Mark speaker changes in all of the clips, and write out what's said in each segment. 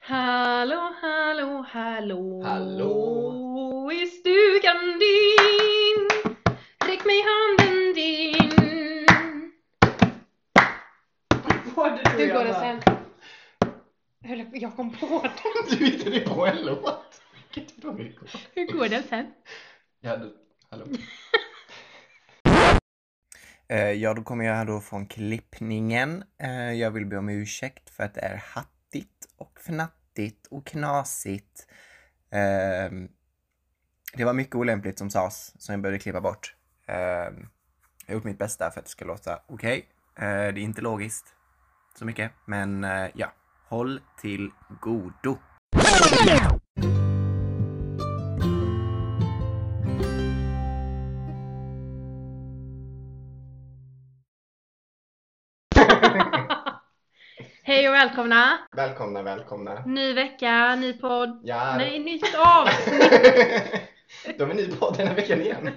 Speaker 1: Hallå, hallå, hallå.
Speaker 2: Hallå.
Speaker 1: I stugan din. Räck mig handen din.
Speaker 2: Vad är
Speaker 1: Hur går det sen? Höll- Jag kom på det.
Speaker 2: Du hittade på en låt. Vilket bra.
Speaker 1: Hur går det sen?
Speaker 2: Ja, du. Hallå.
Speaker 3: Eh, Ja, då kommer jag då från klippningen. Eh, Jag vill be om ursäkt för att det är hattigt och fnattigt och knasigt. Ehm, Det var mycket olämpligt som sades som jag behövde klippa bort. Ehm, Jag har gjort mitt bästa för att det ska låta okej. Eh, Det är inte logiskt så mycket, men eh, ja, håll till godo.
Speaker 1: Hej och välkomna.
Speaker 2: Välkomna, välkomna.
Speaker 1: Ny vecka, ny podd.
Speaker 2: Ja.
Speaker 1: Nej, nytt av.
Speaker 2: De är ny på den här veckan igen.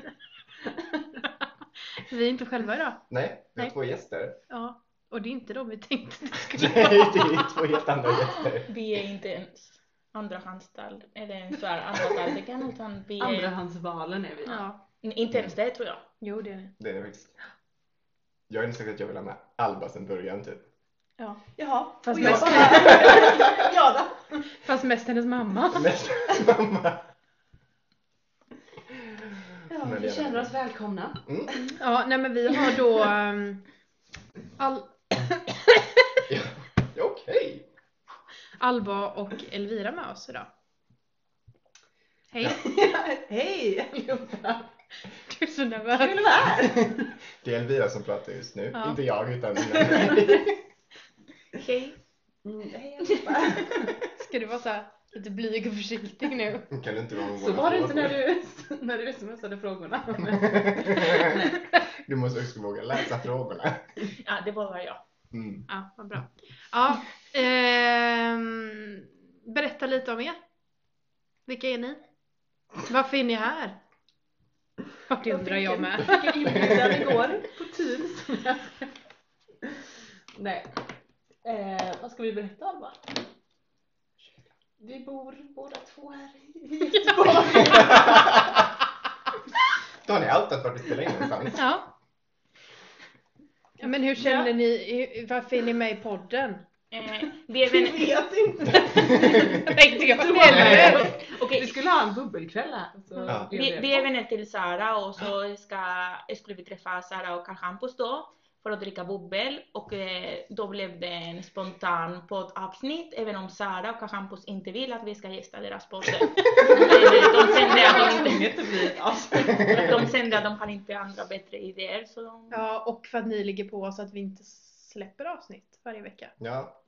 Speaker 1: Vi är inte själva idag.
Speaker 2: Nej, vi har
Speaker 1: Nej.
Speaker 2: två gäster.
Speaker 1: Ja, och det är inte de vi tänkte det skulle
Speaker 2: Nej,
Speaker 1: vara.
Speaker 2: det är två helt andra gäster.
Speaker 4: Vi är inte ens andrahandsstall, eller ens så här andrahandsvärdigan, utan vi är...
Speaker 5: Andrahandsvalen är vi.
Speaker 1: Ja,
Speaker 4: Inte ens det tror jag.
Speaker 1: jo det är det.
Speaker 2: Det är det faktiskt. Jag har insett att jag vill ha med Alba sen början typ.
Speaker 1: Ja.
Speaker 5: Jaha,
Speaker 1: Fast
Speaker 5: och jag
Speaker 1: mest-
Speaker 5: bara... ja då.
Speaker 1: Fast mest hennes mamma.
Speaker 2: Mest mamma.
Speaker 5: Ja,
Speaker 2: Men det
Speaker 5: vi
Speaker 2: är
Speaker 5: känner
Speaker 2: det.
Speaker 5: oss välkomna.
Speaker 2: Mm.
Speaker 1: Ja, nej men vi har då ehm, Al
Speaker 2: Ja, ja, okej.
Speaker 1: Alba och Elvira med oss idag. Hej!
Speaker 5: Hej allihopa!
Speaker 1: Du är så
Speaker 5: Kul att
Speaker 1: nervös.
Speaker 5: vara här!
Speaker 2: Det är Elvira som pratar just nu.
Speaker 1: Ja.
Speaker 2: Inte jag, utan
Speaker 1: Hej!
Speaker 5: Mm, Hej allihopa!
Speaker 1: Ska du vara så här lite blyg och försiktig nu?
Speaker 2: Kan du inte vara med
Speaker 5: Så
Speaker 2: våra
Speaker 5: var det inte
Speaker 2: frågor?
Speaker 5: när du, när du smsade frågorna.
Speaker 2: Du måste också våga läsa frågorna.
Speaker 4: Ja, det var bara jag.
Speaker 2: Mm.
Speaker 1: Ja, vad bra. Ja, ehm, berätta lite om er. Vilka är ni? Varför är ni här? Ja, Det undrar jag med.
Speaker 5: Jag fick en inbjudan igår på Teams. Nej. Eh, vad ska vi berätta om va? Vi bor båda två här i Göteborg.
Speaker 2: Då har ni outat vart vi spelar in någonstans.
Speaker 1: Ja. Ja, Men hur känner ni? hur- Varför är ni med i podden?
Speaker 4: Eh, vi är
Speaker 5: Vi
Speaker 4: väl...
Speaker 5: vet inte.
Speaker 1: Tänkte jag
Speaker 2: heller.
Speaker 4: Okej,
Speaker 5: Vi skulle ha en bubbelkväll här. Så
Speaker 2: Ja.
Speaker 5: blev
Speaker 4: vi,
Speaker 5: det.
Speaker 4: vi är vänner till Sara och så ska, skulle vi träffa Sara och Karl Hampus då för att dricka bubbel och eh, då blev det en spontan poddavsnitt även om Sara och Karl Hampus inte vill att vi ska gästa deras podd. Eh, de kände att de inte
Speaker 5: tvunget att bli ett avsnitt.
Speaker 4: De kände att de hade inte andra bättre idéer så de...
Speaker 1: Ja, och för att ni ligger på oss att vi inte släpper avsnitt varje vecka.
Speaker 2: Ja.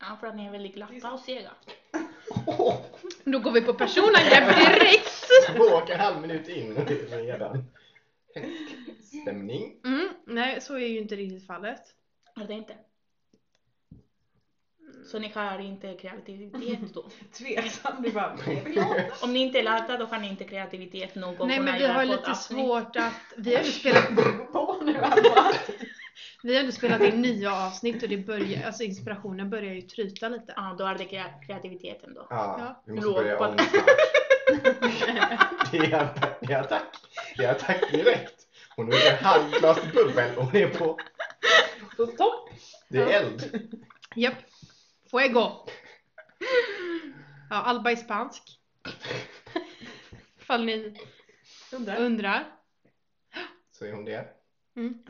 Speaker 4: Ja, för att ni är väldigt glada och sega.
Speaker 2: Åh,
Speaker 1: Då går vi på personangrepp direkt!
Speaker 2: två och en halv minut in och det är redan stämning.
Speaker 1: Mm, nej, så är ju inte riktigt fallet.
Speaker 4: Är det inte? Så ni har inte kreativitet då?
Speaker 5: Tveksam. Vi bara, nej, vi låter.
Speaker 4: Om ni inte är lata då har ni inte kreativitet nog att
Speaker 1: nej,
Speaker 4: kunna
Speaker 1: men vi
Speaker 4: göra
Speaker 1: har lite
Speaker 4: poddavsnitt.
Speaker 1: svårt att... Vi har ju spelat,
Speaker 5: på nu Alva.
Speaker 1: vi har ändå spelat in nya avsnitt och det börjar, alltså inspirationen börjar ju tryta lite.
Speaker 4: Ja, då är det kre- kreativiteten då.
Speaker 2: Ja,
Speaker 1: Ja.
Speaker 2: vi måste börja om
Speaker 4: Robot.
Speaker 2: snart. Det är attack, det är attack, det är attack direkt. Hon dricker ett halvt glas bubbel och hon är på,
Speaker 5: På topp.
Speaker 2: det är eld.
Speaker 1: Japp. Fuego! Ja, Alba är spansk. Ifall ni
Speaker 5: Undrar.
Speaker 1: undrar.
Speaker 2: Så är hon det.
Speaker 1: Mm.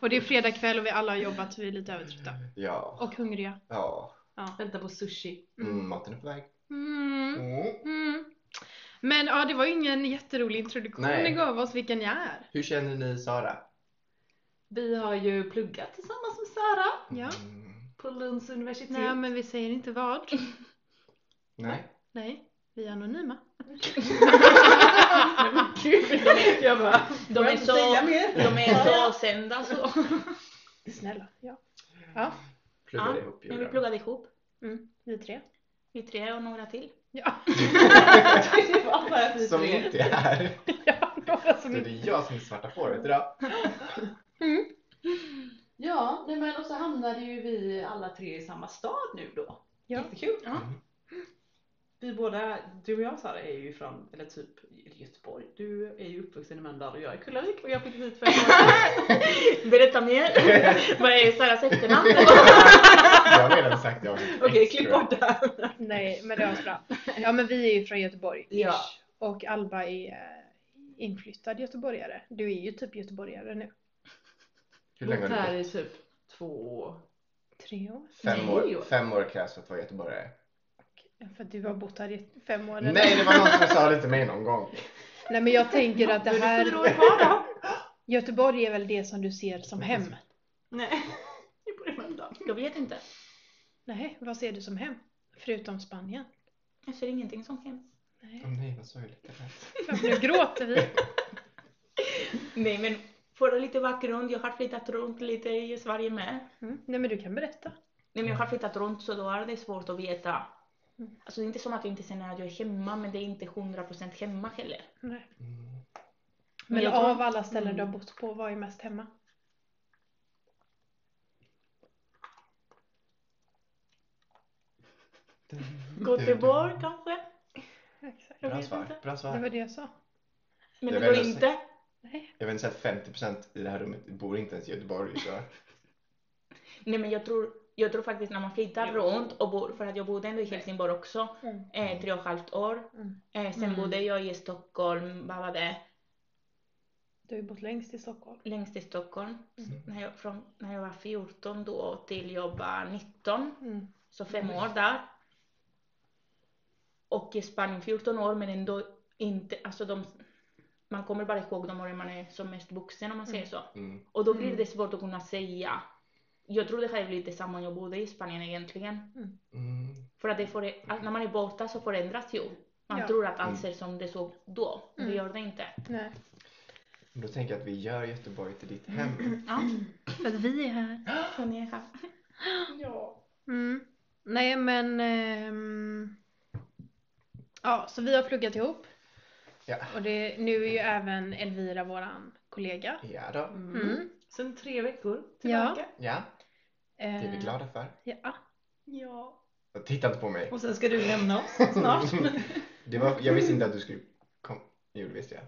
Speaker 1: Och det är fredag kväll och vi alla har jobbat så vi är lite övertrötta.
Speaker 2: Ja,
Speaker 1: Och hungriga.
Speaker 2: ja.
Speaker 5: Vänta på sushi.
Speaker 2: Mm, maten är på väg.
Speaker 1: Mm.
Speaker 2: Mm.
Speaker 1: Mm. Men ja, det var ju ingen jätterolig introduktion
Speaker 2: Nej.
Speaker 1: ni gav oss vilka ni är.
Speaker 2: Hur känner ni Sara?
Speaker 5: Vi har ju pluggat tillsammans med Sara
Speaker 1: Ja.
Speaker 2: Mm.
Speaker 5: på Lunds universitet.
Speaker 1: Nej, men vi säger inte vad.
Speaker 2: Nej.
Speaker 1: Nej, vi är anonyma.
Speaker 5: Gud, jag bara,
Speaker 4: De
Speaker 5: får jag
Speaker 4: är
Speaker 5: inte
Speaker 4: så-
Speaker 5: säga mer?
Speaker 4: De är så sända så.
Speaker 1: Snälla. Ja.
Speaker 2: Pluggar
Speaker 4: Ja,
Speaker 2: ihop
Speaker 4: Men vi
Speaker 2: gjorde de.
Speaker 4: pluggade ihop.
Speaker 1: Mm, vi tre.
Speaker 4: Vi tre och några till.
Speaker 1: Ja,
Speaker 5: Det var bara vi
Speaker 2: Som
Speaker 5: tre.
Speaker 2: inte är här.
Speaker 1: ja några som
Speaker 2: Så
Speaker 1: inte...
Speaker 2: det är jag som är svarta fåret idag.
Speaker 5: Ja, nej men och så hamnade ju vi alla tre i samma stad nu då.
Speaker 1: Ja.
Speaker 5: Jättekul.
Speaker 4: Ja.
Speaker 2: Mm.
Speaker 5: Vi båda, du och jag Sara är ju från, eller typ Göteborg. Du är ju uppvuxen i Mölndal och jag är i Kullavik och jag flyttade hit för ett år sedan.
Speaker 4: Berätta mer. Vad är Saras efternamn?
Speaker 2: Jag har redan sagt jag.
Speaker 5: Okej, klipp bort det här.
Speaker 1: Nej, men det var bra. Ja, men vi är ju från Göteborg.
Speaker 5: Ja.
Speaker 1: Och Alba är eh, inflyttad göteborgare. Du är ju typ göteborgare nu.
Speaker 2: Hur länge har
Speaker 5: Bott
Speaker 2: du
Speaker 5: här
Speaker 2: bott?
Speaker 5: i typ två
Speaker 1: Tre år.
Speaker 2: Fem
Speaker 5: Nej,
Speaker 2: år,
Speaker 5: år.
Speaker 2: fem år krävs för att vara göteborgare.
Speaker 1: För att du har bott här i fem år. eller?
Speaker 2: Nej, det var någon som sa det till mig någon gång.
Speaker 1: Nej, men jag tänker att det
Speaker 5: Då är fyra
Speaker 1: här...
Speaker 5: år kvar då.
Speaker 1: Göteborg är väl det som du ser som hem?
Speaker 5: Nej, vi bor i Mölndal.
Speaker 4: Jag vet inte.
Speaker 1: Nej, vad ser du som hem? Förutom Spanien?
Speaker 4: Jag ser ingenting som hem.
Speaker 1: Nej,
Speaker 2: Åh nej, vad sorgligt. det lät.
Speaker 1: varför nu gråter vi?
Speaker 4: Nej, men för lite bakgrund. Jag har flyttat runt lite i Sverige med.
Speaker 1: Mm. Nej, men du kan berätta.
Speaker 4: Nej, men jag har flyttat runt så då är det svårt att veta.
Speaker 1: Mm.
Speaker 4: Alltså det är inte som att jag inte känner att jag är hemma, men det är inte 100% hemma heller.
Speaker 1: Nej.
Speaker 2: Mm.
Speaker 1: Men,
Speaker 4: Men jag tror-
Speaker 1: av alla ställen du har bott på, vad är mest hemma?
Speaker 2: Mm.
Speaker 4: Göteborg kanske?
Speaker 1: Exakt.
Speaker 4: Jag
Speaker 2: Bra
Speaker 4: vet
Speaker 2: svar.
Speaker 4: inte.
Speaker 2: Bra
Speaker 1: Det
Speaker 2: svar.
Speaker 1: var det jag sa.
Speaker 4: Men
Speaker 2: Det är
Speaker 4: ändå
Speaker 2: väl-
Speaker 4: inte.
Speaker 1: Nej.
Speaker 2: Jag vill säga 50% i det här rummet bor inte ens i Göteborg. Så.
Speaker 4: Nej, men jag tror, jag tror faktiskt när man flyttar
Speaker 5: Jo.
Speaker 4: runt och bor, för att jag bodde ändå i Helsingborg också,
Speaker 1: Mm.
Speaker 4: eh, tre och ett halvt år.
Speaker 1: Mm.
Speaker 4: Eh, sen
Speaker 5: Mm.
Speaker 4: bodde jag i Stockholm, vad var det?
Speaker 1: Du har ju bott längst i Stockholm.
Speaker 4: Längst i Stockholm.
Speaker 2: Mm.
Speaker 4: När jag, från, när jag var 14 då till jag var 19,
Speaker 1: Mm.
Speaker 4: så fem
Speaker 2: Mm.
Speaker 4: år där. Och i Spanien 14 år, men ändå inte, alltså de, man kommer bara ihåg de åren man är som mest vuxen om man säger så.
Speaker 2: Mm.
Speaker 4: Och då blir
Speaker 1: Mm.
Speaker 4: det svårt att kunna säga. Jag tror det här är lite samma jag bodde i Spanien egentligen.
Speaker 2: Mm.
Speaker 4: För att det får, att när man är borta så förändras ju. Man
Speaker 1: Ja.
Speaker 4: tror att
Speaker 2: Mm.
Speaker 4: allt ser som det såg då, men det
Speaker 1: Mm.
Speaker 4: gör det inte.
Speaker 1: Nej.
Speaker 2: Då tänker jag att vi gör Göteborg till ditt hem.
Speaker 4: Ja,
Speaker 1: För att vi är här.
Speaker 4: så ni är här.
Speaker 5: Ja.
Speaker 1: Mm. Nej men... ehm, Ja, så vi har pluggat ihop.
Speaker 2: Ja.
Speaker 1: Och det, nu är ju även Elvira våran kollega.
Speaker 2: Ja då.
Speaker 1: Mm.
Speaker 5: Sen tre veckor
Speaker 1: Ja.
Speaker 5: tillbaka.
Speaker 2: Ja, det är vi
Speaker 1: Eh,
Speaker 2: glada för.
Speaker 1: Ja.
Speaker 5: Ja.
Speaker 2: Och Titta inte på mig.
Speaker 5: Och sen ska du lämna oss snart.
Speaker 2: Det var, jag visste inte att du skulle komma. Jo, det visste jag.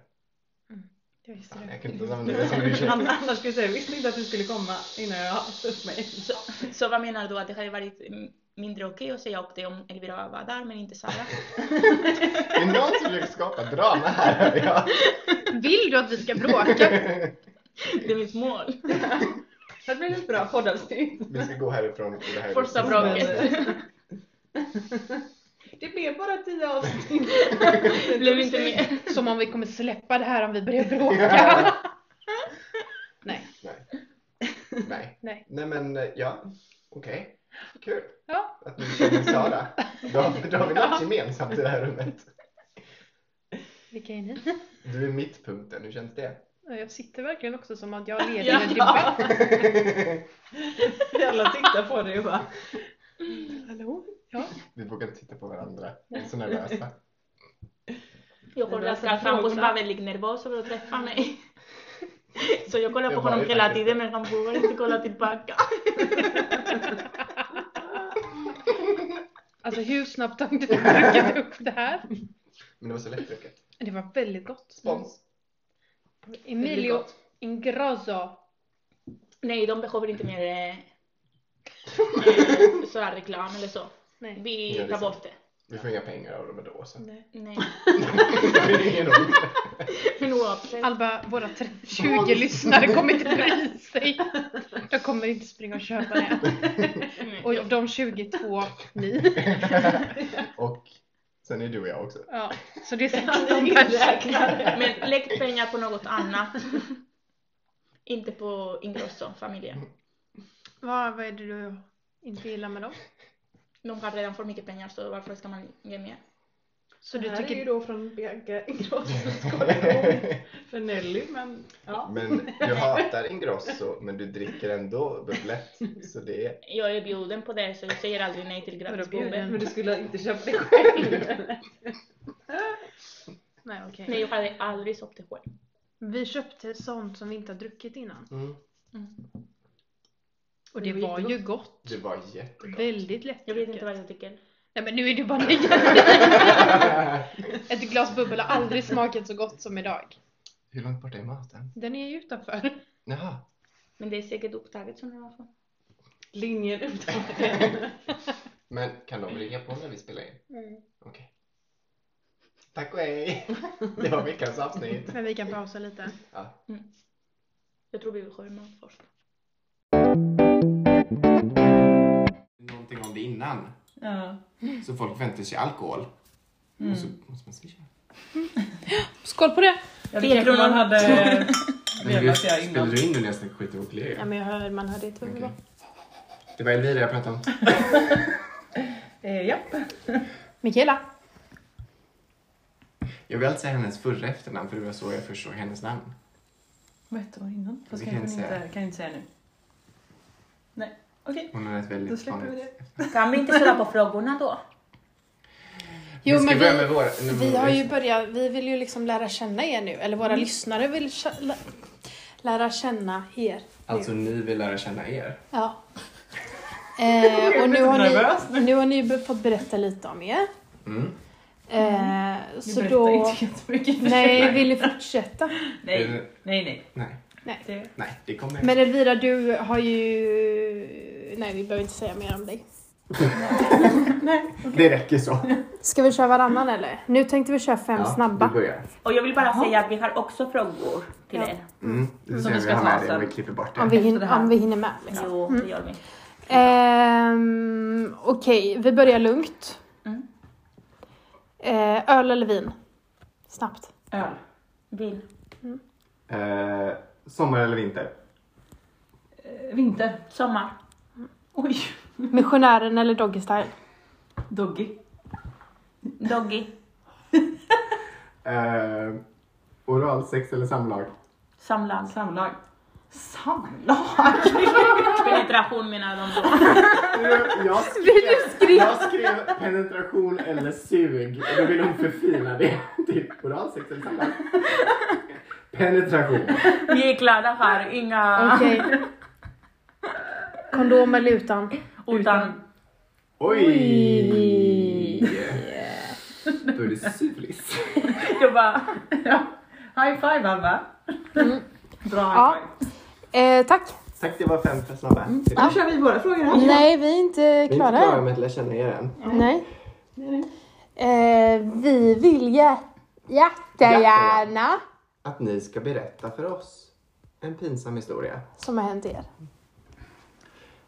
Speaker 1: Jag visste
Speaker 2: Fan,
Speaker 1: det.
Speaker 2: jag kunde inte använda det som ursäkt.
Speaker 5: Ann- Annars skulle jag säga, jag visste inte att du skulle komma innan jag sa upp mig.
Speaker 4: Så vad menar du att det hade varit mm, mindre okej att säga upp det om Elvira var där men inte Sara?
Speaker 2: Det är någon som försöker skapa drama här. hör jag.
Speaker 1: Vill du att vi ska bråka?
Speaker 4: Det är mitt mål.
Speaker 5: Det blir ett bra poddavsnitt.
Speaker 2: Vi ska gå härifrån. och Det här är
Speaker 4: Första
Speaker 2: vårt
Speaker 4: bråket.
Speaker 2: sista.
Speaker 5: Det blev bara tio avsnitt.
Speaker 4: Det blev inte mer.
Speaker 1: Som om vi kommer släppa det här om vi börjar bråka. Nej.
Speaker 2: Nej.
Speaker 1: Nej.
Speaker 2: Nej men eh, ja, okej. Kul
Speaker 1: Ja.
Speaker 2: att du känner Sara. Då har, då har vi något gemensamt i det här rummet.
Speaker 1: Vilka är ni?
Speaker 2: Du är mittpunkten, hur känns det?
Speaker 1: Ja, Jag sitter verkligen också som att jag leder
Speaker 4: Ja.
Speaker 1: en debatt.
Speaker 5: Vi alla tittar på dig och bara,
Speaker 1: Hallå? Ja.
Speaker 2: Vi vågar inte titta på varandra. Vi är så nervösa.
Speaker 4: Jag
Speaker 5: Det
Speaker 4: kollade
Speaker 5: var
Speaker 4: att
Speaker 5: som
Speaker 4: Carl Campos
Speaker 5: fråga.
Speaker 4: var väldigt nervös över att träffa mig. Så jag kollade
Speaker 2: Det
Speaker 4: på
Speaker 2: var
Speaker 4: honom
Speaker 2: ju
Speaker 4: hela
Speaker 2: faktiskt
Speaker 4: tiden men han vågade inte kolla tillbaka.
Speaker 1: Alltså hur snabbt har du druckit upp det här?
Speaker 2: Men det var så lättdrucket.
Speaker 1: Det var väldigt gott.
Speaker 2: Spons.
Speaker 1: Emilio Ingrosso.
Speaker 4: Nej, de behöver inte mer eh, eh, så här reklam eller så.
Speaker 1: Nej.
Speaker 2: Ja, det
Speaker 4: Vi
Speaker 2: är
Speaker 4: tar
Speaker 2: sant.
Speaker 4: bort det.
Speaker 2: Vi får inga pengar av dem ändå så.
Speaker 1: Nej.
Speaker 4: Nej.
Speaker 2: Det är ingen rolig.
Speaker 4: Men oavsett.
Speaker 1: Alba, våra tre- 20 lyssnare kommer inte bry sig. Jag kommer inte springa och köpa det.
Speaker 4: Nej.
Speaker 1: Och de 22, ni.
Speaker 2: Och sen är du och jag också.
Speaker 1: Ja, så det är
Speaker 5: han är
Speaker 1: 16 personer.
Speaker 5: inräknad.
Speaker 4: Men lägg pengar på något annat. Inte pues, på Ingrosso-familjen.
Speaker 1: Vad, vad är det du inte gillar med dem?
Speaker 4: De har redan för mycket pengar så varför ska man ge mer?
Speaker 1: Så
Speaker 5: det
Speaker 1: du
Speaker 5: här är ju
Speaker 1: tycker...
Speaker 5: då från Bianca Ingrossos konversation för Nelly, men ja.
Speaker 2: Men du hatar Ingrosso men du dricker ändå bubblet. Så det är...
Speaker 4: Jag är bjuden på det så jag säger aldrig nej till
Speaker 1: bjuden?
Speaker 4: gratisbomben.
Speaker 5: Men du skulle inte köpa det själv.
Speaker 1: Nej, okej.
Speaker 4: Nej, jag hade aldrig sålt det själv.
Speaker 1: Vi köpte sånt som vi inte har druckit innan.
Speaker 2: Mm.
Speaker 1: Och det
Speaker 4: Det var
Speaker 1: var ju gott.
Speaker 2: Det var jättegott.
Speaker 1: Väldigt lätt.
Speaker 4: Jag vet inte vad jag tycker.
Speaker 1: Nej men nu är du bara negativ. Ett glas bubbel har aldrig smakat så gott som idag.
Speaker 2: Hur långt bort är maten?
Speaker 1: Den är ju utanför.
Speaker 2: Jaha.
Speaker 4: Men det är säkert upptaget som det var för.
Speaker 5: Linjen utan
Speaker 2: Men kan de ringa på när vi spelar in?
Speaker 1: Mm.
Speaker 2: Okej. Tack och hej! Det var veckans avsnitt.
Speaker 1: Men vi kan pausa lite.
Speaker 2: Ja.
Speaker 4: Jag tror vi vill ha mat först.
Speaker 2: Någonting om det innan.
Speaker 6: Ja. Mm.
Speaker 2: Så folk väntar sig alkohol. Och så måste man swisha.
Speaker 1: Skål på det!
Speaker 6: Jag
Speaker 4: Fyra
Speaker 6: tyckte man
Speaker 4: kronor.
Speaker 6: hade
Speaker 2: du,
Speaker 6: velat jag
Speaker 2: spelar
Speaker 6: innan.
Speaker 2: du in nu när jag snackar skit om kollegor?
Speaker 1: men jag hör, man hör ditt
Speaker 2: Okej. Det var Elvira jag pratade om.
Speaker 6: Eh, ja.
Speaker 1: Mikaela!
Speaker 2: Jag vill alltid säga hennes förra efternamn för det var så jag förstår hennes namn.
Speaker 6: Vad hette hon innan? Fast
Speaker 2: Vi
Speaker 6: kan
Speaker 2: kan
Speaker 6: jag
Speaker 2: inte säga.
Speaker 6: inte, kan jag inte säga nu. Nej, okej.
Speaker 2: Hon har ett
Speaker 6: Då
Speaker 2: väldigt
Speaker 6: släpper vi
Speaker 2: vanligt...
Speaker 4: Kan vi inte svara på frågorna då?
Speaker 1: Jo,
Speaker 2: ska
Speaker 1: men
Speaker 2: börja
Speaker 1: vi-
Speaker 2: med våra... nej,
Speaker 1: Vi
Speaker 2: våra-
Speaker 1: har ju börjat, vi vill ju liksom lära känna er nu. Eller
Speaker 6: Mm.
Speaker 1: våra lyssnare vill kä- lä- lära känna er.
Speaker 2: Alltså ni vill lära känna er.
Speaker 1: Ja. Eh, och nu har,
Speaker 6: nervös
Speaker 1: ni, nu har ni be- fått berätta lite om er.
Speaker 2: Mm.
Speaker 1: Eh,
Speaker 6: Vi
Speaker 1: så
Speaker 6: berättar
Speaker 1: då...
Speaker 6: inte jättemycket.
Speaker 1: Nej, vill ni fortsätta?
Speaker 6: Nej,
Speaker 2: Eh,
Speaker 6: nej, nej.
Speaker 2: Nej,
Speaker 6: Det...
Speaker 2: nej, det kommer
Speaker 1: Men Elvira, du har ju... Nej, vi behöver inte säga mer om dig.
Speaker 2: Det räcker så.
Speaker 1: Ska vi köra varannan eller? Nu tänkte vi köra fem snabba.
Speaker 2: Du börjar.
Speaker 4: Och jag vill bara säga att vi har också frågor till
Speaker 1: Ja.
Speaker 4: er.
Speaker 2: Mm. Det
Speaker 6: Som
Speaker 2: ser
Speaker 6: vi
Speaker 2: vi
Speaker 6: ska
Speaker 2: har
Speaker 6: ta
Speaker 2: med det
Speaker 6: sen.
Speaker 2: vi klipper bort det.
Speaker 1: Om vi,
Speaker 6: Efter det
Speaker 1: hin-
Speaker 6: här.
Speaker 1: om vi hinner med. Liksom.
Speaker 4: Jo, det gör vi.
Speaker 1: Ehm, Okej, vi börjar lugnt.
Speaker 4: Mm.
Speaker 1: Eh, öl eller vin? Snabbt.
Speaker 6: Öl.
Speaker 4: Vin.
Speaker 2: Eh, sommar eller vinter?
Speaker 6: Eh, Vinter.
Speaker 4: Sommar.
Speaker 6: Oj.
Speaker 1: Missionären eller Doggy Style?
Speaker 6: Doggy.
Speaker 4: Doggy.
Speaker 2: Eh, oralsex eller samlag?
Speaker 4: Samlag.
Speaker 6: Samlag. Samlag?
Speaker 4: Penetration menar de då.
Speaker 2: Jag skrev, jag skrev penetration eller sug och då vill hon förfina det till oralsex eller samlag. Penetration.
Speaker 4: Vi är glada här, inga...
Speaker 1: Okej. Kondom eller utan?
Speaker 4: Utan.
Speaker 2: Oj! Då är det syfilis.
Speaker 4: Jag bara...
Speaker 6: ja. High five, Alva.
Speaker 5: Mm.
Speaker 6: Bra
Speaker 1: Ja.
Speaker 6: high five.
Speaker 1: Eh, tack.
Speaker 2: Tack, det var fem snabba. Vi
Speaker 6: Nu kör vi våra frågor här.
Speaker 5: Mm.
Speaker 1: Nej, vi är inte
Speaker 2: är inte
Speaker 1: klara
Speaker 2: klara
Speaker 1: än.
Speaker 2: med att lära känna er än.
Speaker 1: Nej. Eh, vi vill jä- jättegärna
Speaker 2: Att ni ska berätta för oss en pinsam historia.
Speaker 1: som har hänt er.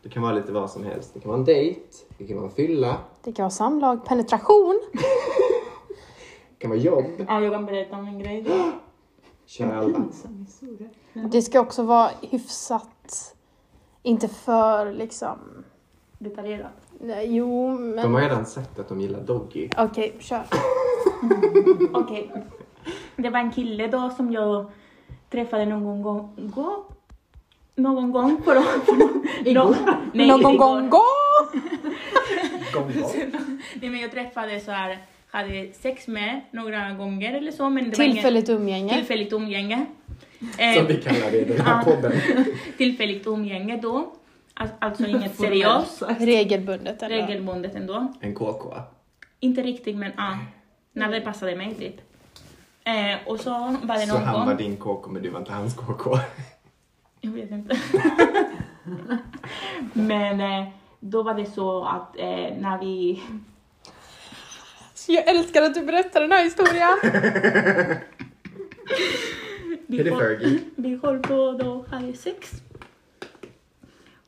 Speaker 2: Det kan vara lite vad som helst. Det kan vara en dejt, det kan vara en fylla,
Speaker 1: Det kan vara samlag, penetration.
Speaker 2: det kan vara jobb.
Speaker 4: Ja, jag kan berätta om en grej.
Speaker 2: Kör alla.
Speaker 6: Pinsam historia.
Speaker 1: Det ska också vara hyfsat, inte för liksom...
Speaker 4: Detaljerat.
Speaker 1: Nej, jo, men...
Speaker 2: De har redan sett att de gillar Doggy.
Speaker 1: Okej, kör.
Speaker 4: Okej. Det var en kille då som jag träffade någon gång... Gå? Någon gång på... Igår? Nej,
Speaker 1: Någon
Speaker 4: igår.
Speaker 1: gång gå!
Speaker 2: Gång, gång.
Speaker 4: Nej, men jag träffade så här, hade sex med några gånger eller så. Men det var
Speaker 1: Tillfälligt
Speaker 4: ingen,
Speaker 1: umgänge.
Speaker 4: tillfälligt umgänge.
Speaker 2: Som
Speaker 4: Eh,
Speaker 2: vi kallar det i den här podden.
Speaker 4: tillfälligt umgänge då. Al- Alltså inget seriöst.
Speaker 1: Regelbundet. ändå.
Speaker 4: Regelbundet ändå.
Speaker 2: En KK.
Speaker 4: Inte riktigt men ja. När det passade mig typ. Eh, och så var det
Speaker 2: Så
Speaker 4: någon
Speaker 2: han
Speaker 4: gång.
Speaker 2: var din KK men du var inte hans KK.
Speaker 4: Jag vet inte. men eh, då var det så att eh, när vi...
Speaker 1: Jag älskar att du berättar den här historien.
Speaker 4: vi
Speaker 2: Är det
Speaker 4: var-
Speaker 2: Fergie?
Speaker 4: Vi höll på då hade sex.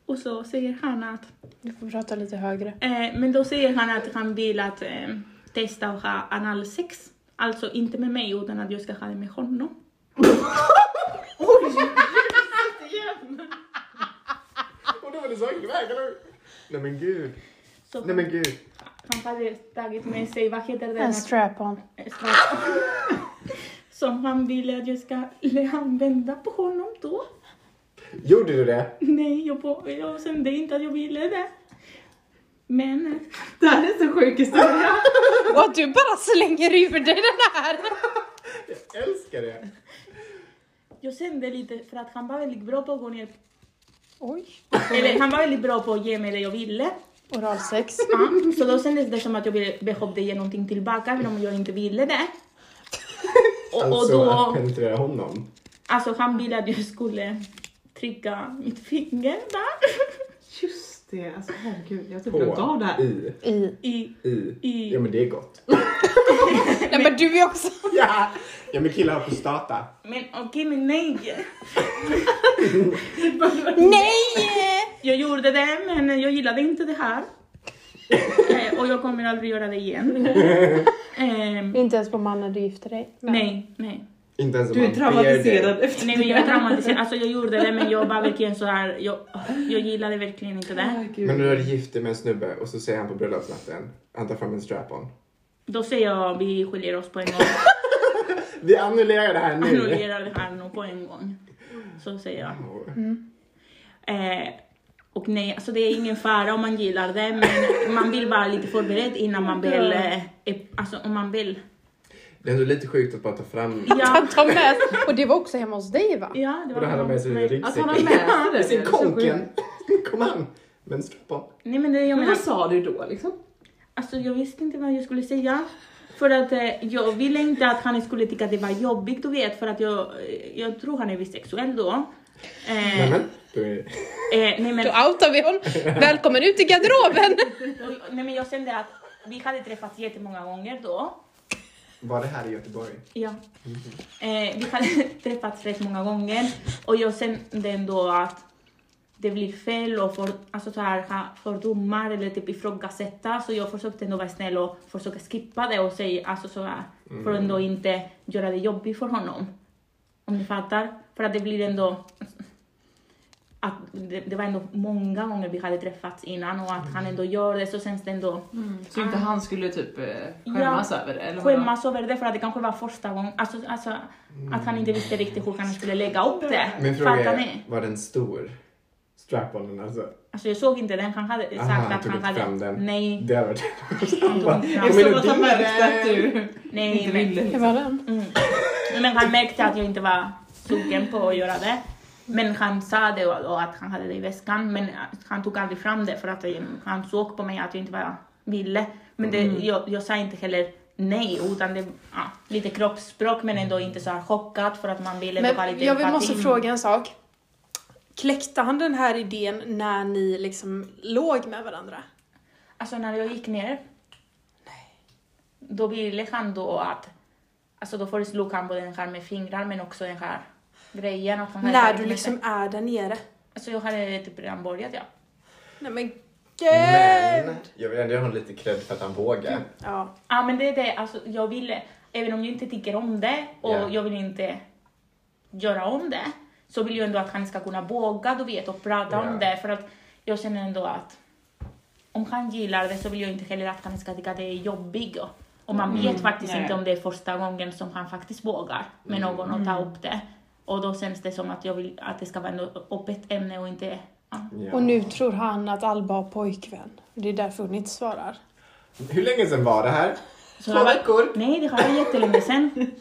Speaker 4: Och så säger han att,
Speaker 1: Du får prata lite högre.
Speaker 4: eh, men då säger han att han vill att eh, testa att ha analsex. Alltså inte med mig utan att jag ska ha det med honom.
Speaker 2: Och då var det så iväg, eller Nej men gud.
Speaker 4: Så
Speaker 2: Nej men gud.
Speaker 4: han hade tagit med sig, vad heter det?
Speaker 1: En strap-on.
Speaker 4: eh, Som han ville att jag ska använda på honom då.
Speaker 2: Gjorde du det?
Speaker 4: Nej, jag, på, jag kände inte att jag ville det. Men eh,
Speaker 6: Det här är så sjuk historia.
Speaker 1: Och att du bara slänger ur dig den här.
Speaker 2: Jag älskar det.
Speaker 4: jag kände lite, för att han var väldigt bra på att gå ner
Speaker 7: Oj.
Speaker 4: Eller han var väldigt bra på att ge mig det jag ville.
Speaker 7: Oralsex.
Speaker 4: Ja, så då kändes det som att jag ville- behövde ge någonting tillbaka även om jag inte ville det. Och, och
Speaker 2: Alltså att
Speaker 4: då,
Speaker 2: penetrera honom.
Speaker 4: alltså han ville att jag skulle trycka mitt finger där.
Speaker 5: Just det, alltså herregud. Jag har typ
Speaker 2: På,
Speaker 5: glömt av det här.
Speaker 2: i,
Speaker 7: I.
Speaker 4: I,
Speaker 2: i.
Speaker 4: i,
Speaker 2: Ja men det är gott.
Speaker 7: Nej men du är också...
Speaker 2: Ja, ja men killar har prostata.
Speaker 4: Men okej, men nej.
Speaker 7: Nej!
Speaker 4: Jag gjorde det, men jag gillade inte det här. Eh, och jag kommer aldrig göra det igen. Ehm,
Speaker 7: Inte ens på mannen du gifte dig med.
Speaker 4: nej, nej.
Speaker 2: Inte ens om
Speaker 5: Du är
Speaker 2: man ber
Speaker 5: traumatiserad
Speaker 2: dig.
Speaker 5: efter
Speaker 4: Nej men jag är traumatiserad, alltså jag gjorde det men jag var verkligen så här. jag, jag gillade verkligen inte det.
Speaker 5: Herregud.
Speaker 2: Men du är gift dig med en snubbe och så säger han på bröllopsnatten, han tar fram en strap-on.
Speaker 4: Då säger jag vi skiljer oss på en gång,
Speaker 2: Vi annullerar det här nu.
Speaker 4: annullerar det här nog på en gång. Så säger jag.
Speaker 2: Mm.
Speaker 4: Eh, och nej, alltså det är ingen fara om man gillar det men man vill vara lite förberedd innan man väl, eh, är- alltså om man vill.
Speaker 2: Det är ändå lite sjukt att bara ta fram
Speaker 4: Ja,
Speaker 7: Ta med. Och det var också hemma hos dig va?
Speaker 4: ja det
Speaker 2: och det här
Speaker 4: var
Speaker 2: med sig i
Speaker 5: Att han har
Speaker 2: ryggsäcken.
Speaker 5: med sig
Speaker 2: I sin
Speaker 5: det. det är så
Speaker 2: konken.
Speaker 5: sjukt.
Speaker 2: Kom han. Men strap-on.
Speaker 4: Nej men det är jag
Speaker 5: Men
Speaker 4: menar.
Speaker 5: vad sa du då liksom?
Speaker 4: Alltså jag visste inte vad jag skulle säga. För att eh, jag ville inte att han skulle tycka att det var jobbigt, du vet. För att jag, eh, jag tror han är bisexuell då. Eh,
Speaker 2: Nämen. då är-
Speaker 4: eh, nej, men,
Speaker 7: Då outar vi honom. Välkommen ut i garderoben!
Speaker 4: nej men jag kände att vi hade träffats jättemånga gånger då.
Speaker 2: Var det här i Göteborg?
Speaker 4: Ja. Eh, vi hade träffats rätt många gånger och jag kände ändå att det blir fel och för, alltså så här, ha fördomar eller typ ifrågasätta så jag försökte ändå vara snäll och försöka skippa det och säga alltså så här, för att ändå inte göra det jobbigt för honom. Om ni fattar? För att det blir ändå att det, det var ändå många gånger vi hade träffats innan och att han ändå gör det så känns det ändå
Speaker 5: Så inte han skulle typ eh, skämmas över det? Eller vadå?
Speaker 4: skämmas över det för att det kanske var första gången, alltså, alltså att han inte visste riktigt hur han skulle lägga upp det.
Speaker 2: Min fråga
Speaker 4: Fattar
Speaker 2: är,
Speaker 4: ni?
Speaker 2: var den stor? Strap-onen alltså.
Speaker 4: Alltså jag såg inte den, han hade sagt
Speaker 2: Aha, han
Speaker 4: att
Speaker 2: tog
Speaker 4: han
Speaker 2: inte
Speaker 4: hade...
Speaker 2: fram den.
Speaker 4: Nej,
Speaker 2: Det hade varit...
Speaker 4: han tog inte
Speaker 2: men
Speaker 4: fram
Speaker 5: Som att han
Speaker 2: du-
Speaker 5: märkte att du
Speaker 4: Nej,
Speaker 5: inte
Speaker 4: men,
Speaker 5: ville.
Speaker 7: Det var den.
Speaker 4: men han märkte att jag inte var sugen på att göra det. Men han sa det och, och att han hade det i väskan, men han tog aldrig fram det för att eh, han såg på mig att jag inte var, ville. Men det,
Speaker 7: Mm.
Speaker 4: jag, jag sa inte heller nej, utan det ja, lite kroppsspråk men ändå inte så här chockad för att man ville vara
Speaker 7: Men
Speaker 4: lite
Speaker 7: jag vill-
Speaker 4: empati.
Speaker 7: måste fråga en sak. Kläckte han den här idén när ni liksom låg med varandra?
Speaker 4: Alltså när jag gick ner, då ville han då att, alltså då föreslog han både den här med fingrar men också den här grejen. Att han hade
Speaker 7: När
Speaker 4: tagit
Speaker 7: du
Speaker 4: med sig.
Speaker 7: liksom är där nere?
Speaker 4: Alltså jag hade typ redan börjat ja.
Speaker 7: Nej men gud!
Speaker 2: Men jag vill ändå ge honom lite cred för att han vågar.
Speaker 7: Ja.
Speaker 4: Ja men det är det, alltså jag ville, även om jag inte tycker om det och
Speaker 2: Ja.
Speaker 4: jag vill inte göra om det, så vill jag ändå att han ska kunna våga du vet och prata
Speaker 2: Ja.
Speaker 4: om det för att jag känner ändå att om han gillar det så vill jag inte heller att han ska tycka att det är jobbigt och, och man
Speaker 2: Mm.
Speaker 4: vet faktiskt
Speaker 5: Nej.
Speaker 4: inte om det är första gången som han faktiskt vågar med
Speaker 2: Mm.
Speaker 4: någon och ta upp det och då känns det som att jag vill att det ska vara ett öppet ämne och inte ja.
Speaker 2: Ja.
Speaker 7: Och nu tror han att Alba har pojkvän. Det är därför hon inte svarar.
Speaker 2: Hur länge sedan var det här?
Speaker 4: Så
Speaker 2: Två
Speaker 4: det var-
Speaker 2: veckor.
Speaker 4: Nej, det här var jättelänge sedan.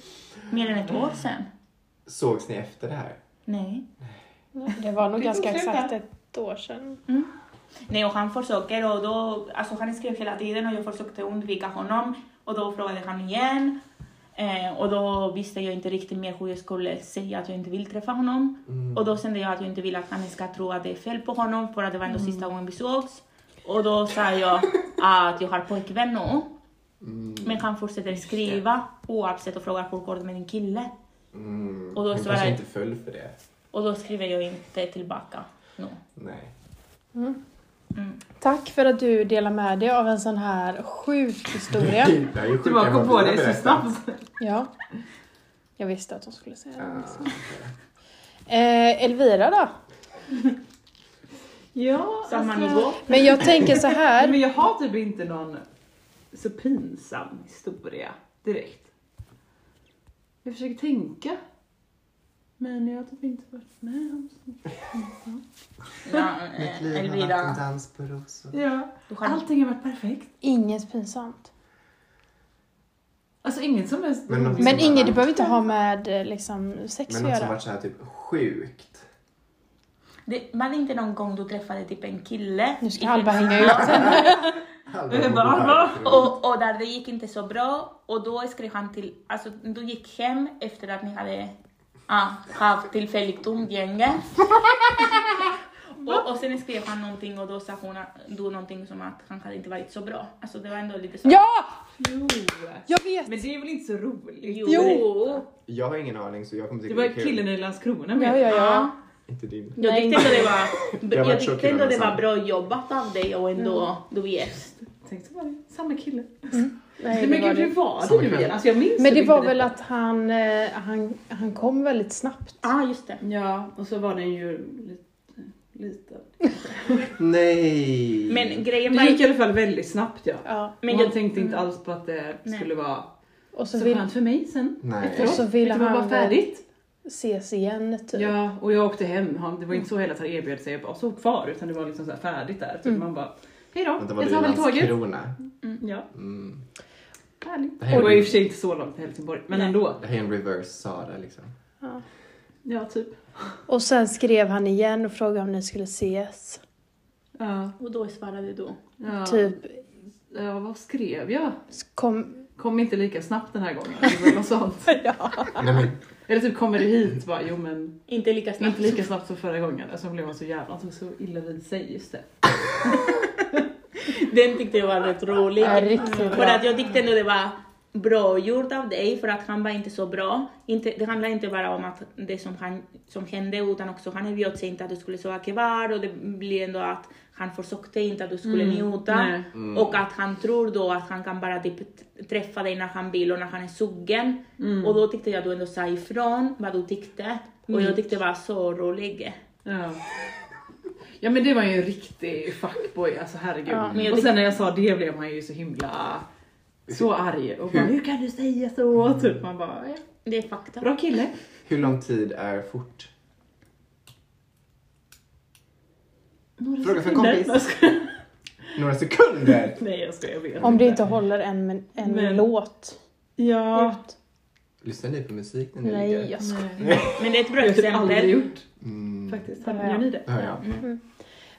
Speaker 4: Mer än ett år sedan.
Speaker 2: Sågs ni efter det här?
Speaker 4: Nej.
Speaker 7: Det var nog
Speaker 5: Det
Speaker 7: ganska
Speaker 5: tog slut
Speaker 7: exakt ett år sedan.
Speaker 4: Nej, och han försöker och då, alltså han skrev hela tiden och jag försökte undvika honom och då frågade han igen eh, och då visste jag inte riktigt mer hur jag skulle säga att jag inte vill träffa honom och då kände jag att jag inte vill att han ska tro att det är fel på honom för att det var ändå sista gången vi sågs och då sa jag att jag har pojkvän nu
Speaker 5: Mm.
Speaker 4: men han fortsätter skriva oavsett och frågar hur går det med din kille
Speaker 2: Mm.
Speaker 4: Och då
Speaker 2: han
Speaker 4: så
Speaker 2: kanske
Speaker 4: var det-
Speaker 2: inte föll för det.
Speaker 4: och då skriver jag inte tillbaka nu.
Speaker 2: Nej.
Speaker 7: Tack för att du delar med dig av en sån här sjuk historia.
Speaker 2: Det här är ju
Speaker 5: Du
Speaker 2: sjukare
Speaker 5: bara
Speaker 2: än vad
Speaker 5: kom på
Speaker 2: vi har
Speaker 5: det så
Speaker 2: berättat.
Speaker 5: snabbt.
Speaker 7: Ja. Jag visste att hon skulle säga det.
Speaker 2: Ja.
Speaker 7: liksom. Eh, Elvira då?
Speaker 5: Ja,
Speaker 4: Samma
Speaker 5: alltså-
Speaker 4: nivå.
Speaker 7: Men jag tänker så
Speaker 5: Nej,
Speaker 7: här.
Speaker 5: Men jag har typ inte någon så pinsam historia direkt. Jag försöker tänka. Men jag har typ inte varit med om så mycket.
Speaker 4: Ja, eh, Elvira,
Speaker 2: dans på rosor.
Speaker 5: Ja.
Speaker 4: du har
Speaker 5: Allting har varit perfekt.
Speaker 7: Inget pinsamt.
Speaker 5: Alltså inget som är...
Speaker 2: Men-
Speaker 5: roligt.
Speaker 7: Men inget, det behöver inte ha med eh, liksom, sex
Speaker 2: Men
Speaker 7: att
Speaker 2: något som
Speaker 7: göra.
Speaker 2: varit så här typ sjukt.
Speaker 4: Det var inte någon gång du träffade typ en kille.
Speaker 1: Nu ska
Speaker 4: i
Speaker 1: Alba
Speaker 4: princip.
Speaker 1: hänga ut henne.
Speaker 5: Eh,
Speaker 2: Halva
Speaker 4: Bara,
Speaker 2: borde
Speaker 4: va?
Speaker 2: här.
Speaker 4: och, och där det gick inte så bra och då skrev han till, alltså du gick hem efter att ni hade ah, haft tillfälligt umgänge. och, och sen skrev han någonting och då sa hon att- du någonting som att han hade inte varit så bra. Alltså det var ändå lite så.
Speaker 1: Ja!
Speaker 5: Jo.
Speaker 1: Jag vet!
Speaker 5: Men det är väl inte så roligt?
Speaker 4: Jo.
Speaker 1: Jo!
Speaker 2: Jag har ingen aning så jag kommer
Speaker 5: Det
Speaker 2: tycka
Speaker 5: var killen i Landskrona
Speaker 1: Ja, ja,
Speaker 4: Ja.
Speaker 1: ja.
Speaker 2: Inte din.
Speaker 4: Ah, Jag tyckte ändå det var,
Speaker 2: Jag var
Speaker 4: jag
Speaker 2: så
Speaker 4: tyckte
Speaker 2: kul
Speaker 4: ändå
Speaker 2: med
Speaker 4: det var
Speaker 2: Sam.
Speaker 4: bra jobbat av dig och ändå,
Speaker 1: Mm.
Speaker 4: du vet.
Speaker 5: Tänk så var det samma kille.
Speaker 1: Nej,
Speaker 5: men
Speaker 1: det var
Speaker 5: gud, hur
Speaker 1: det.
Speaker 5: var
Speaker 2: Samma
Speaker 5: det nu
Speaker 2: kväll.
Speaker 5: igen? Alltså jag minns
Speaker 1: Men
Speaker 5: typ
Speaker 1: det
Speaker 5: inte
Speaker 1: var väl att han, eh, han, han kom väldigt snabbt.
Speaker 4: Ja, ah, just det.
Speaker 5: Ja, och så var den ju lite, liten.
Speaker 2: Nej!
Speaker 4: Men grejen var
Speaker 5: Det gick i
Speaker 4: ju...
Speaker 5: alla fall väldigt snabbt ja.
Speaker 1: Ja.
Speaker 5: Men
Speaker 4: Men
Speaker 5: jag
Speaker 4: jag-
Speaker 5: tänkte inte alls på att det
Speaker 4: Nej.
Speaker 5: skulle vara
Speaker 1: Och så
Speaker 5: så
Speaker 1: vill,
Speaker 5: skönt för mig sen.
Speaker 2: Nej.
Speaker 1: och så ville
Speaker 5: det var bara
Speaker 1: han väl
Speaker 5: färdigt.
Speaker 1: ses igen typ.
Speaker 5: Ja, och jag åkte hem. Han- Det var inte så hela tiden erbjöd sig att stå kvar utan det var liksom så här färdigt där. Så man bara, hej
Speaker 2: Vänta,
Speaker 5: då,
Speaker 2: var
Speaker 5: jag
Speaker 2: du i
Speaker 5: tar väl tåget.
Speaker 2: Landskrona?
Speaker 5: Ja,
Speaker 2: Mm.
Speaker 5: härligt.
Speaker 2: Det
Speaker 5: Det
Speaker 2: här
Speaker 5: var i
Speaker 2: är
Speaker 5: och för sig inte så långt till Helsingborg, men ändå.
Speaker 2: det här är en reverse Sara liksom.
Speaker 5: Ja, typ.
Speaker 1: Och sen skrev han igen och frågade om ni skulle ses.
Speaker 5: Ja,
Speaker 4: Och då svarade du.
Speaker 5: ja.
Speaker 1: Typ,
Speaker 5: ja, vad skrev jag?
Speaker 1: kom...
Speaker 5: Kom inte lika snabbt den här gången. Eller något sånt.
Speaker 2: Nej, men,
Speaker 5: Eller typ kommer du hit bara, jo men
Speaker 4: Inte lika snabbt.
Speaker 5: inte lika snabbt som förra gången. Alltså blev man så jävla, han tog så illa vid sig, just det.
Speaker 4: Den tyckte jag var rätt rolig.
Speaker 1: Ja, riktigt
Speaker 4: För
Speaker 1: bra.
Speaker 4: att jag tyckte ändå det var bra gjort av dig för att han var inte så bra. Inte, det handlar inte bara om att det som, han, som hände utan också han erbjöd sig inte att du skulle sova kvar och det blir ändå att han försökte inte att du skulle njuta.
Speaker 5: Mm, nej.
Speaker 4: Och att han tror då att han kan bara typ t- träffa dig när han vill och när han är sugen.
Speaker 5: Mm.
Speaker 4: Och då tyckte jag att du ändå sa ifrån vad du tyckte. Och jag tyckte det var så roligt.
Speaker 5: Ja. ja men det var ju en riktig fuckboy, alltså herregud.
Speaker 4: men jag
Speaker 5: och
Speaker 4: tyck-
Speaker 5: sen när jag sa det blev man ju så himla så arg och bara hur kan du säga
Speaker 2: Mm.
Speaker 5: så? Typ man bara ja,
Speaker 4: Det är fakta.
Speaker 5: bra kille.
Speaker 2: hur lång tid är fort?
Speaker 5: Några
Speaker 2: Fråga för en
Speaker 5: sekunder.
Speaker 2: kompis.
Speaker 5: Jag skojar.
Speaker 2: Några sekunder?
Speaker 5: Nej jag skojar, jag vet
Speaker 1: Om det inte håller en, men- en
Speaker 5: Men-
Speaker 1: låt.
Speaker 5: Ja.
Speaker 1: ut.
Speaker 2: Lyssnar ni på musik när ni
Speaker 1: Nej,
Speaker 2: ligger?
Speaker 1: jag skojar.
Speaker 4: Men det är ett bra
Speaker 5: Det har jag typ aldrig
Speaker 4: exempel. Mm.
Speaker 5: gjort
Speaker 2: Mm.
Speaker 5: faktiskt.
Speaker 1: Det har jag.
Speaker 5: Gör ni det?
Speaker 2: Det hör jag.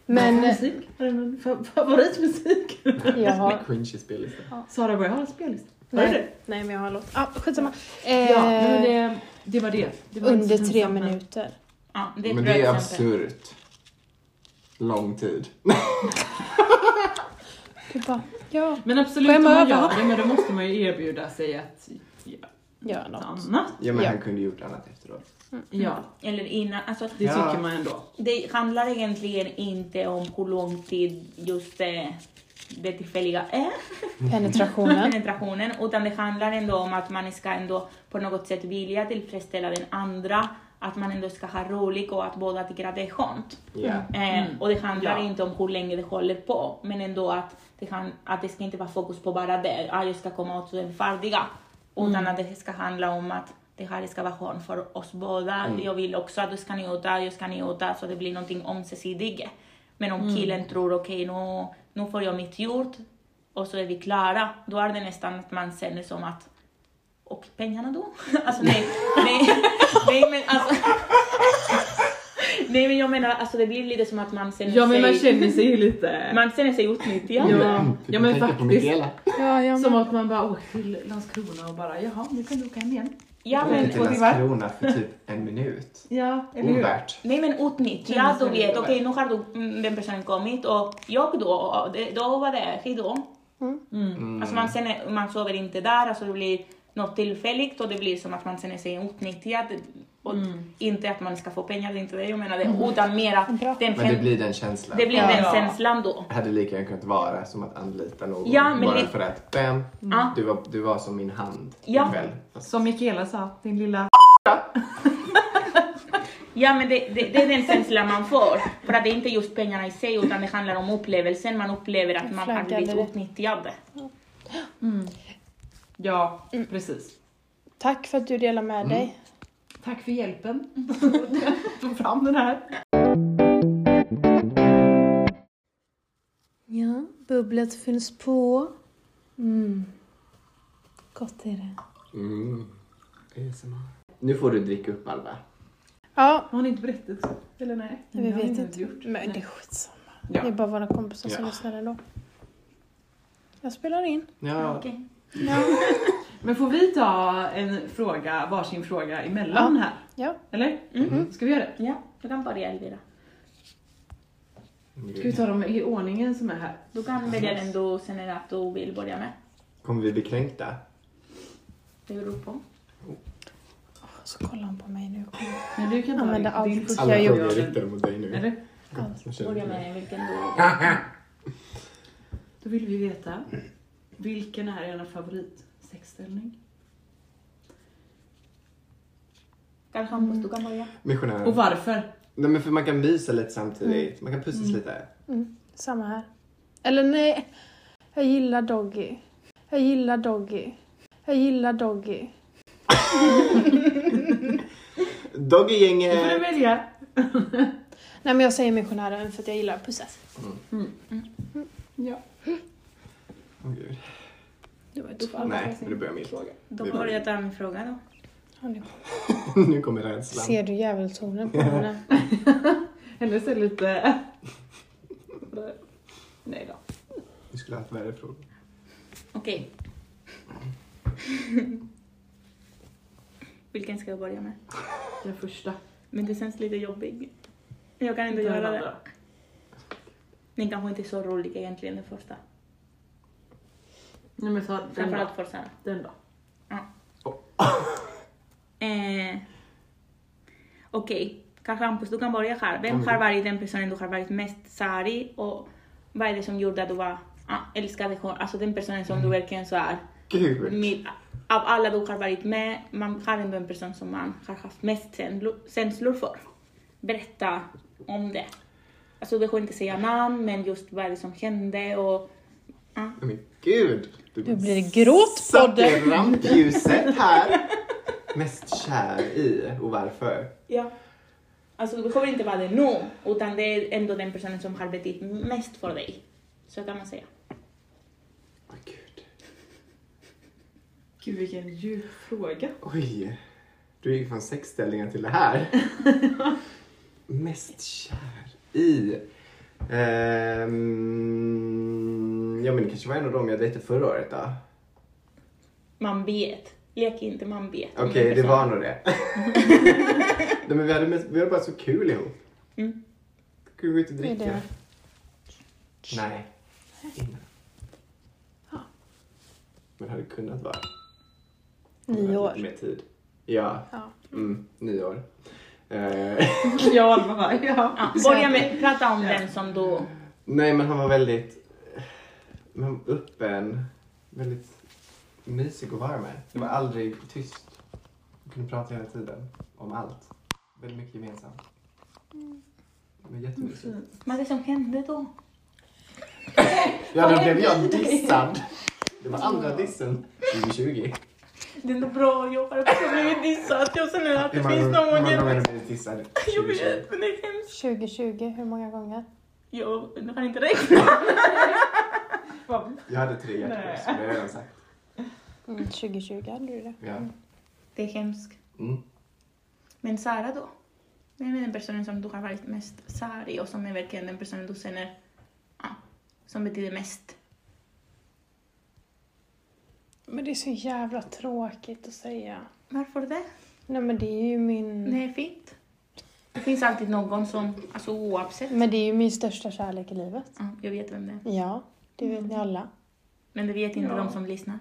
Speaker 1: Men eh,
Speaker 5: Musik? Har du någon fa- Favoritmusik?
Speaker 1: jag har...
Speaker 2: Min cringe spellista.
Speaker 5: Sara Borg har en spellista. Har du det?
Speaker 1: Nej, nej men jag har en låt. Ah, skitsamma. Eh,
Speaker 5: Ja, men det, det var det. det var
Speaker 1: under
Speaker 5: inte så
Speaker 1: tre
Speaker 5: pinsamt, men-
Speaker 1: minuter.
Speaker 4: Ja, det är ett
Speaker 2: Men
Speaker 4: bra
Speaker 2: det är
Speaker 4: exempel.
Speaker 2: absurt. Lång tid.
Speaker 1: Du bara, ja,
Speaker 5: Men absolut, om
Speaker 1: Skämma
Speaker 5: man
Speaker 1: över.
Speaker 5: gör det, men då måste man ju erbjuda sig att göra
Speaker 1: gör
Speaker 5: något
Speaker 1: något.
Speaker 5: annat.
Speaker 2: Ja men
Speaker 1: Ja.
Speaker 2: han kunde gjort annat efteråt.
Speaker 5: Ja,
Speaker 4: Eller innan, alltså
Speaker 5: det
Speaker 2: Ja.
Speaker 5: tycker man ändå.
Speaker 4: det handlar egentligen inte om hur lång tid just det, det tillfälliga är,
Speaker 1: Penetrationen.
Speaker 4: penetrationen, utan det handlar ändå om att man ska ändå på något sätt vilja tillfredsställa den andra, att man ändå ska ha roligt och att båda tycker att det är skönt.
Speaker 2: Ja.
Speaker 4: Eh, Och det handlar
Speaker 5: Ja.
Speaker 4: inte om hur länge det håller på, men ändå att det, kan, att det ska inte vara fokus på bara det, ah, jag ska komma åt den färdiga, utan att det ska handla om att det här ska vara skönt för oss båda. Jag vill också att du ska njuta, jag ska njuta, så det blir någonting ömsesidigt. Men om killen tror okej, nu, nu får jag mitt gjort och så är vi klara, då är det nästan att man känner som att och pengarna då? Alltså nej, nej, nej men alltså. Nej men jag menar, alltså det blir lite som att man känner
Speaker 5: Ja, men man
Speaker 4: sig,
Speaker 5: känner sig ju lite...
Speaker 4: man känner sig utnyttjad.
Speaker 5: Ja, ja men
Speaker 2: Tänker på Mikaela.
Speaker 5: faktiskt.
Speaker 1: Ja, ja,
Speaker 5: Som att man bara åker till Landskrona och bara jaha, nu kan du åka hem igen.
Speaker 4: Ja,
Speaker 2: Jag
Speaker 4: men,
Speaker 2: åkte till Landskrona för typ en minut.
Speaker 5: Ja, eller hur?
Speaker 2: Ovärt.
Speaker 4: nej men
Speaker 5: Känner
Speaker 4: utnyttjad,
Speaker 5: sig
Speaker 4: du vet,
Speaker 5: lite
Speaker 4: okej nu har du, mm, den personen kommit och jag då, och det- då var det, hejdå.
Speaker 2: Mm.
Speaker 4: Alltså man, känner, man sover inte där, alltså det blir något tillfälligt och det blir som att man känner sig utnyttjad. Och
Speaker 5: Mm.
Speaker 4: Inte att man ska få pengar, det är inte det jag menar, det, utan mer
Speaker 1: Bra.
Speaker 2: Men
Speaker 4: att den,
Speaker 2: det
Speaker 4: käns-
Speaker 2: blir den känslan.
Speaker 4: det blir
Speaker 5: Ja.
Speaker 4: den känslan då.
Speaker 2: hade lika gärna kunnat vara som att anlita någon
Speaker 4: Ja, men
Speaker 2: bara
Speaker 4: det-
Speaker 2: för att bam,
Speaker 4: Ja.
Speaker 2: du, var, du var som min hand
Speaker 4: Ja.
Speaker 2: ikväll.
Speaker 5: Som Mikaela sa, din lilla...
Speaker 4: Ja, men det, det, det är den känslan man får. För att det är inte just pengarna i sig, utan det handlar om upplevelsen. Man upplever att man har blivit
Speaker 1: Flaggade.
Speaker 4: utnyttjad.
Speaker 5: Mm. Ja, precis.
Speaker 1: Tack för att du delar med dig.
Speaker 5: Tack för hjälpen. Få fram den här.
Speaker 1: Ja, bubblet finns på. Mm. Gott är det.
Speaker 2: Mm. ASMR. Nu får du dricka upp Alva.
Speaker 1: Ja,
Speaker 5: Har hon inte berättat så? Eller nej?
Speaker 1: vi
Speaker 5: Det har hon
Speaker 1: vet inte.
Speaker 5: Gjort.
Speaker 1: Men
Speaker 5: Nej.
Speaker 1: det är skitsamma. Det är
Speaker 5: Ja.
Speaker 1: bara våra kompisar som
Speaker 2: Ja.
Speaker 1: lyssnar ändå. Jag spelar in.
Speaker 2: Ja,
Speaker 4: Okej.
Speaker 5: Men får vi ta en fråga, varsin fråga emellan här?
Speaker 1: Ja.
Speaker 5: Eller?
Speaker 2: Mhm.
Speaker 5: Ska vi göra det?
Speaker 4: Ja, du kan börja Elvira.
Speaker 5: Ska vi ta dem i ordningen som är här?
Speaker 4: Du kan välja den du känner att du vill börja med.
Speaker 2: Kommer vi bli kränkta?
Speaker 4: Det beror på.
Speaker 1: Så kollar hon på mig nu.
Speaker 5: Men du kan ta
Speaker 1: Använda
Speaker 5: din- din
Speaker 1: allt.
Speaker 5: första
Speaker 2: Alla
Speaker 1: Jag
Speaker 2: frågor
Speaker 5: fråga.
Speaker 2: är riktade mot dig nu.
Speaker 5: Eller?
Speaker 2: Kom, jag känner
Speaker 4: Börja
Speaker 2: det.
Speaker 4: med vilken du...
Speaker 5: Då vill vi veta, vilken är era favorit sexställning?
Speaker 4: Karl-Hampus, du kan börja.
Speaker 2: Missionär.
Speaker 5: Och varför?
Speaker 2: Nej men för man kan mysa lite samtidigt. Man kan pussas lite.
Speaker 1: Samma här. Eller nej. Jag gillar Doggy. Jag gillar Doggy. Jag gillar Doggy.
Speaker 5: Nu får du
Speaker 2: Doggegänget!
Speaker 5: välja.
Speaker 1: Nej men jag säger missionären för att jag gillar att pussas.
Speaker 5: Ja.
Speaker 2: Åh, gud.
Speaker 1: Det var ett svar.
Speaker 2: Nej, men nu börjar min fråga.
Speaker 4: Då
Speaker 2: Det var-
Speaker 4: börjar jag ta min fråga då.
Speaker 1: Ja, nu.
Speaker 2: nu kommer rädslan.
Speaker 1: Ser du djävulshornen på henne?
Speaker 5: Eller så lite... Nej då.
Speaker 2: Vi skulle ha haft värre frågor.
Speaker 4: Okej. Vilken ska jag börja med?
Speaker 5: Den första.
Speaker 4: Men det känns lite jobbig. Jag kan inte
Speaker 5: Inte den
Speaker 4: göra det.
Speaker 5: andra.
Speaker 4: Den kanske inte är så rolig egentligen den första.
Speaker 5: Nej men ta den då.
Speaker 4: Framförallt för Sara.
Speaker 5: Den då.
Speaker 4: Eh, Okej, kanske Hampus, du kan börja här. Vem
Speaker 2: Mm.
Speaker 4: har varit den personen du har varit mest sär i och vad är det som gjorde att du var ah, älskade hon? Alltså den personen som du verkligen så är.
Speaker 2: Gud!
Speaker 4: Med, av alla du har varit med, man har ändå en person som man har haft mest känslor- känslor för. Berätta om det. Alltså du behöver inte säga namn, men just vad är det som hände och
Speaker 2: Men gud! Du
Speaker 1: Nu blir det gråtpodden.
Speaker 2: satte rampljuset här. Mest kär i och varför.
Speaker 4: Ja. Alltså du behöver inte vara det nu, utan det är ändå den personen som har betytt mest för dig. Så kan man säga.
Speaker 2: Åh gud.
Speaker 5: Gud vilken djup fråga.
Speaker 2: Oj. Du gick från sexställningar till det här. Mest kär i. Ehm, ja men det kanske var en av dem jag dejtade förra året då.
Speaker 4: Man vet. Lek inte, man vet.
Speaker 2: Okej, det var nog det. Nej, men vi, hade, mest- vi hade bara så kul ihop.
Speaker 4: Mm.
Speaker 2: Kunde gå ut och
Speaker 1: är
Speaker 2: dricka.
Speaker 1: det.
Speaker 2: Nej. Innan.
Speaker 1: Ja.
Speaker 2: Men det hade kunnat vara. Om vi
Speaker 1: Nio
Speaker 2: hade Lite
Speaker 1: år.
Speaker 2: mer tid. Ja.
Speaker 1: Ja.
Speaker 2: Mm, nio år. Eh,
Speaker 5: ja Alma bara, ja.
Speaker 4: Ja, börja med prata om den som du...
Speaker 2: nej, men han var väldigt men öppen. Väldigt mysig och varm. Det var aldrig tyst. Vi kunde prata hela tiden om allt. Väldigt mycket gemensamt. Det var jättemysigt.
Speaker 4: Vad är det som hände då? Mm.
Speaker 2: Ja, då blev jag dissad. Det var andra dissen 2020.
Speaker 4: Det är ändå bra, jag har också blivit dissad. Jag känner att
Speaker 2: Hur
Speaker 4: det
Speaker 2: många
Speaker 4: finns
Speaker 2: gånger hur många gånger har
Speaker 4: någon...
Speaker 2: du blivit dissad
Speaker 4: Jag
Speaker 2: 2020?
Speaker 4: vet, men det är hemskt.
Speaker 1: 2020, hur många gånger?
Speaker 4: Jag jag kan inte räkna.
Speaker 2: Jag hade tre hjärtpuls, det har jag redan sagt.
Speaker 1: Mm, 2020 hade du det.
Speaker 2: Ja.
Speaker 4: Det är hemskt.
Speaker 2: Mm.
Speaker 4: Men Sara då? Vem är den personen som du har varit mest sär i och som är verkligen den personen du känner ja, som betyder mest?
Speaker 1: Men det är så jävla tråkigt att säga.
Speaker 4: Varför det?
Speaker 1: Nej men det är ju min...
Speaker 4: Det är fint. Det finns alltid någon som, alltså oavsett.
Speaker 1: Men det är ju min största kärlek i livet.
Speaker 4: Ja, jag vet vem det är.
Speaker 1: Ja, det vet ni alla.
Speaker 4: Men det vet inte
Speaker 5: Ja.
Speaker 4: de som lyssnar.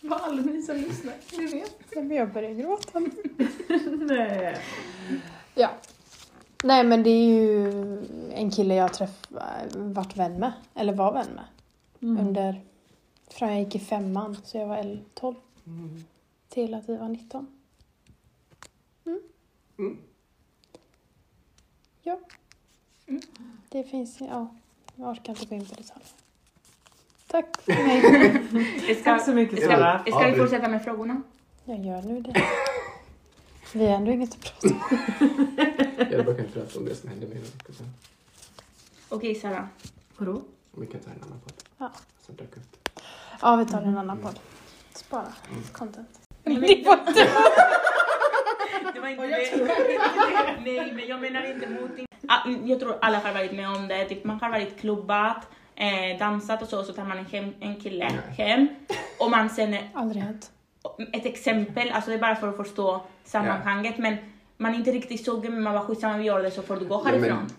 Speaker 5: Vad alla ni som lyssnar.
Speaker 1: Jag vet. Men jag börjar gråta.
Speaker 5: Nej.
Speaker 1: Ja. Nej men det är ju en kille jag träff... varit vän med. Eller var vän med.
Speaker 5: Mm.
Speaker 1: Under... Från jag gick i femman, så jag var L- 12.
Speaker 2: Mm.
Speaker 1: Till att vi var 19. Mm.
Speaker 2: Mm.
Speaker 1: Ja. Det finns... Ja. Jag orkar inte gå in på detaljer. Tack för mig.
Speaker 4: Jag Ska,
Speaker 5: Tack så mycket
Speaker 4: ska,
Speaker 5: Sara.
Speaker 4: ska, vi fortsätta med frågorna?
Speaker 1: jag gör nu det. Vi har ändå inget att prata om.
Speaker 2: Jag hade bara kunnat prata om det som hände mig.
Speaker 4: Okej Sara,
Speaker 5: Vadå?
Speaker 2: Vi kan ta en annan podd.
Speaker 1: Ja.
Speaker 2: Som dök upp.
Speaker 1: Ja, vi tar en annan podd. Spara
Speaker 2: Mm.
Speaker 1: content.
Speaker 4: Nej, men-
Speaker 1: Det var inte...
Speaker 4: Det var inte det. Nej, men jag menar inte mot in- Ah, mm, Jag tror alla har varit med om det. Typ man har varit klubbat, eh, dansat och så, så tar man en, hem, en kille
Speaker 2: Nej.
Speaker 4: hem och man sen
Speaker 1: Aldrig hänt.
Speaker 4: ett exempel, alltså det är bara för att förstå sammanhanget, men man är inte riktigt sugen men man bara skitsamma vi gör det så får du gå
Speaker 2: Ja, men-
Speaker 4: härifrån.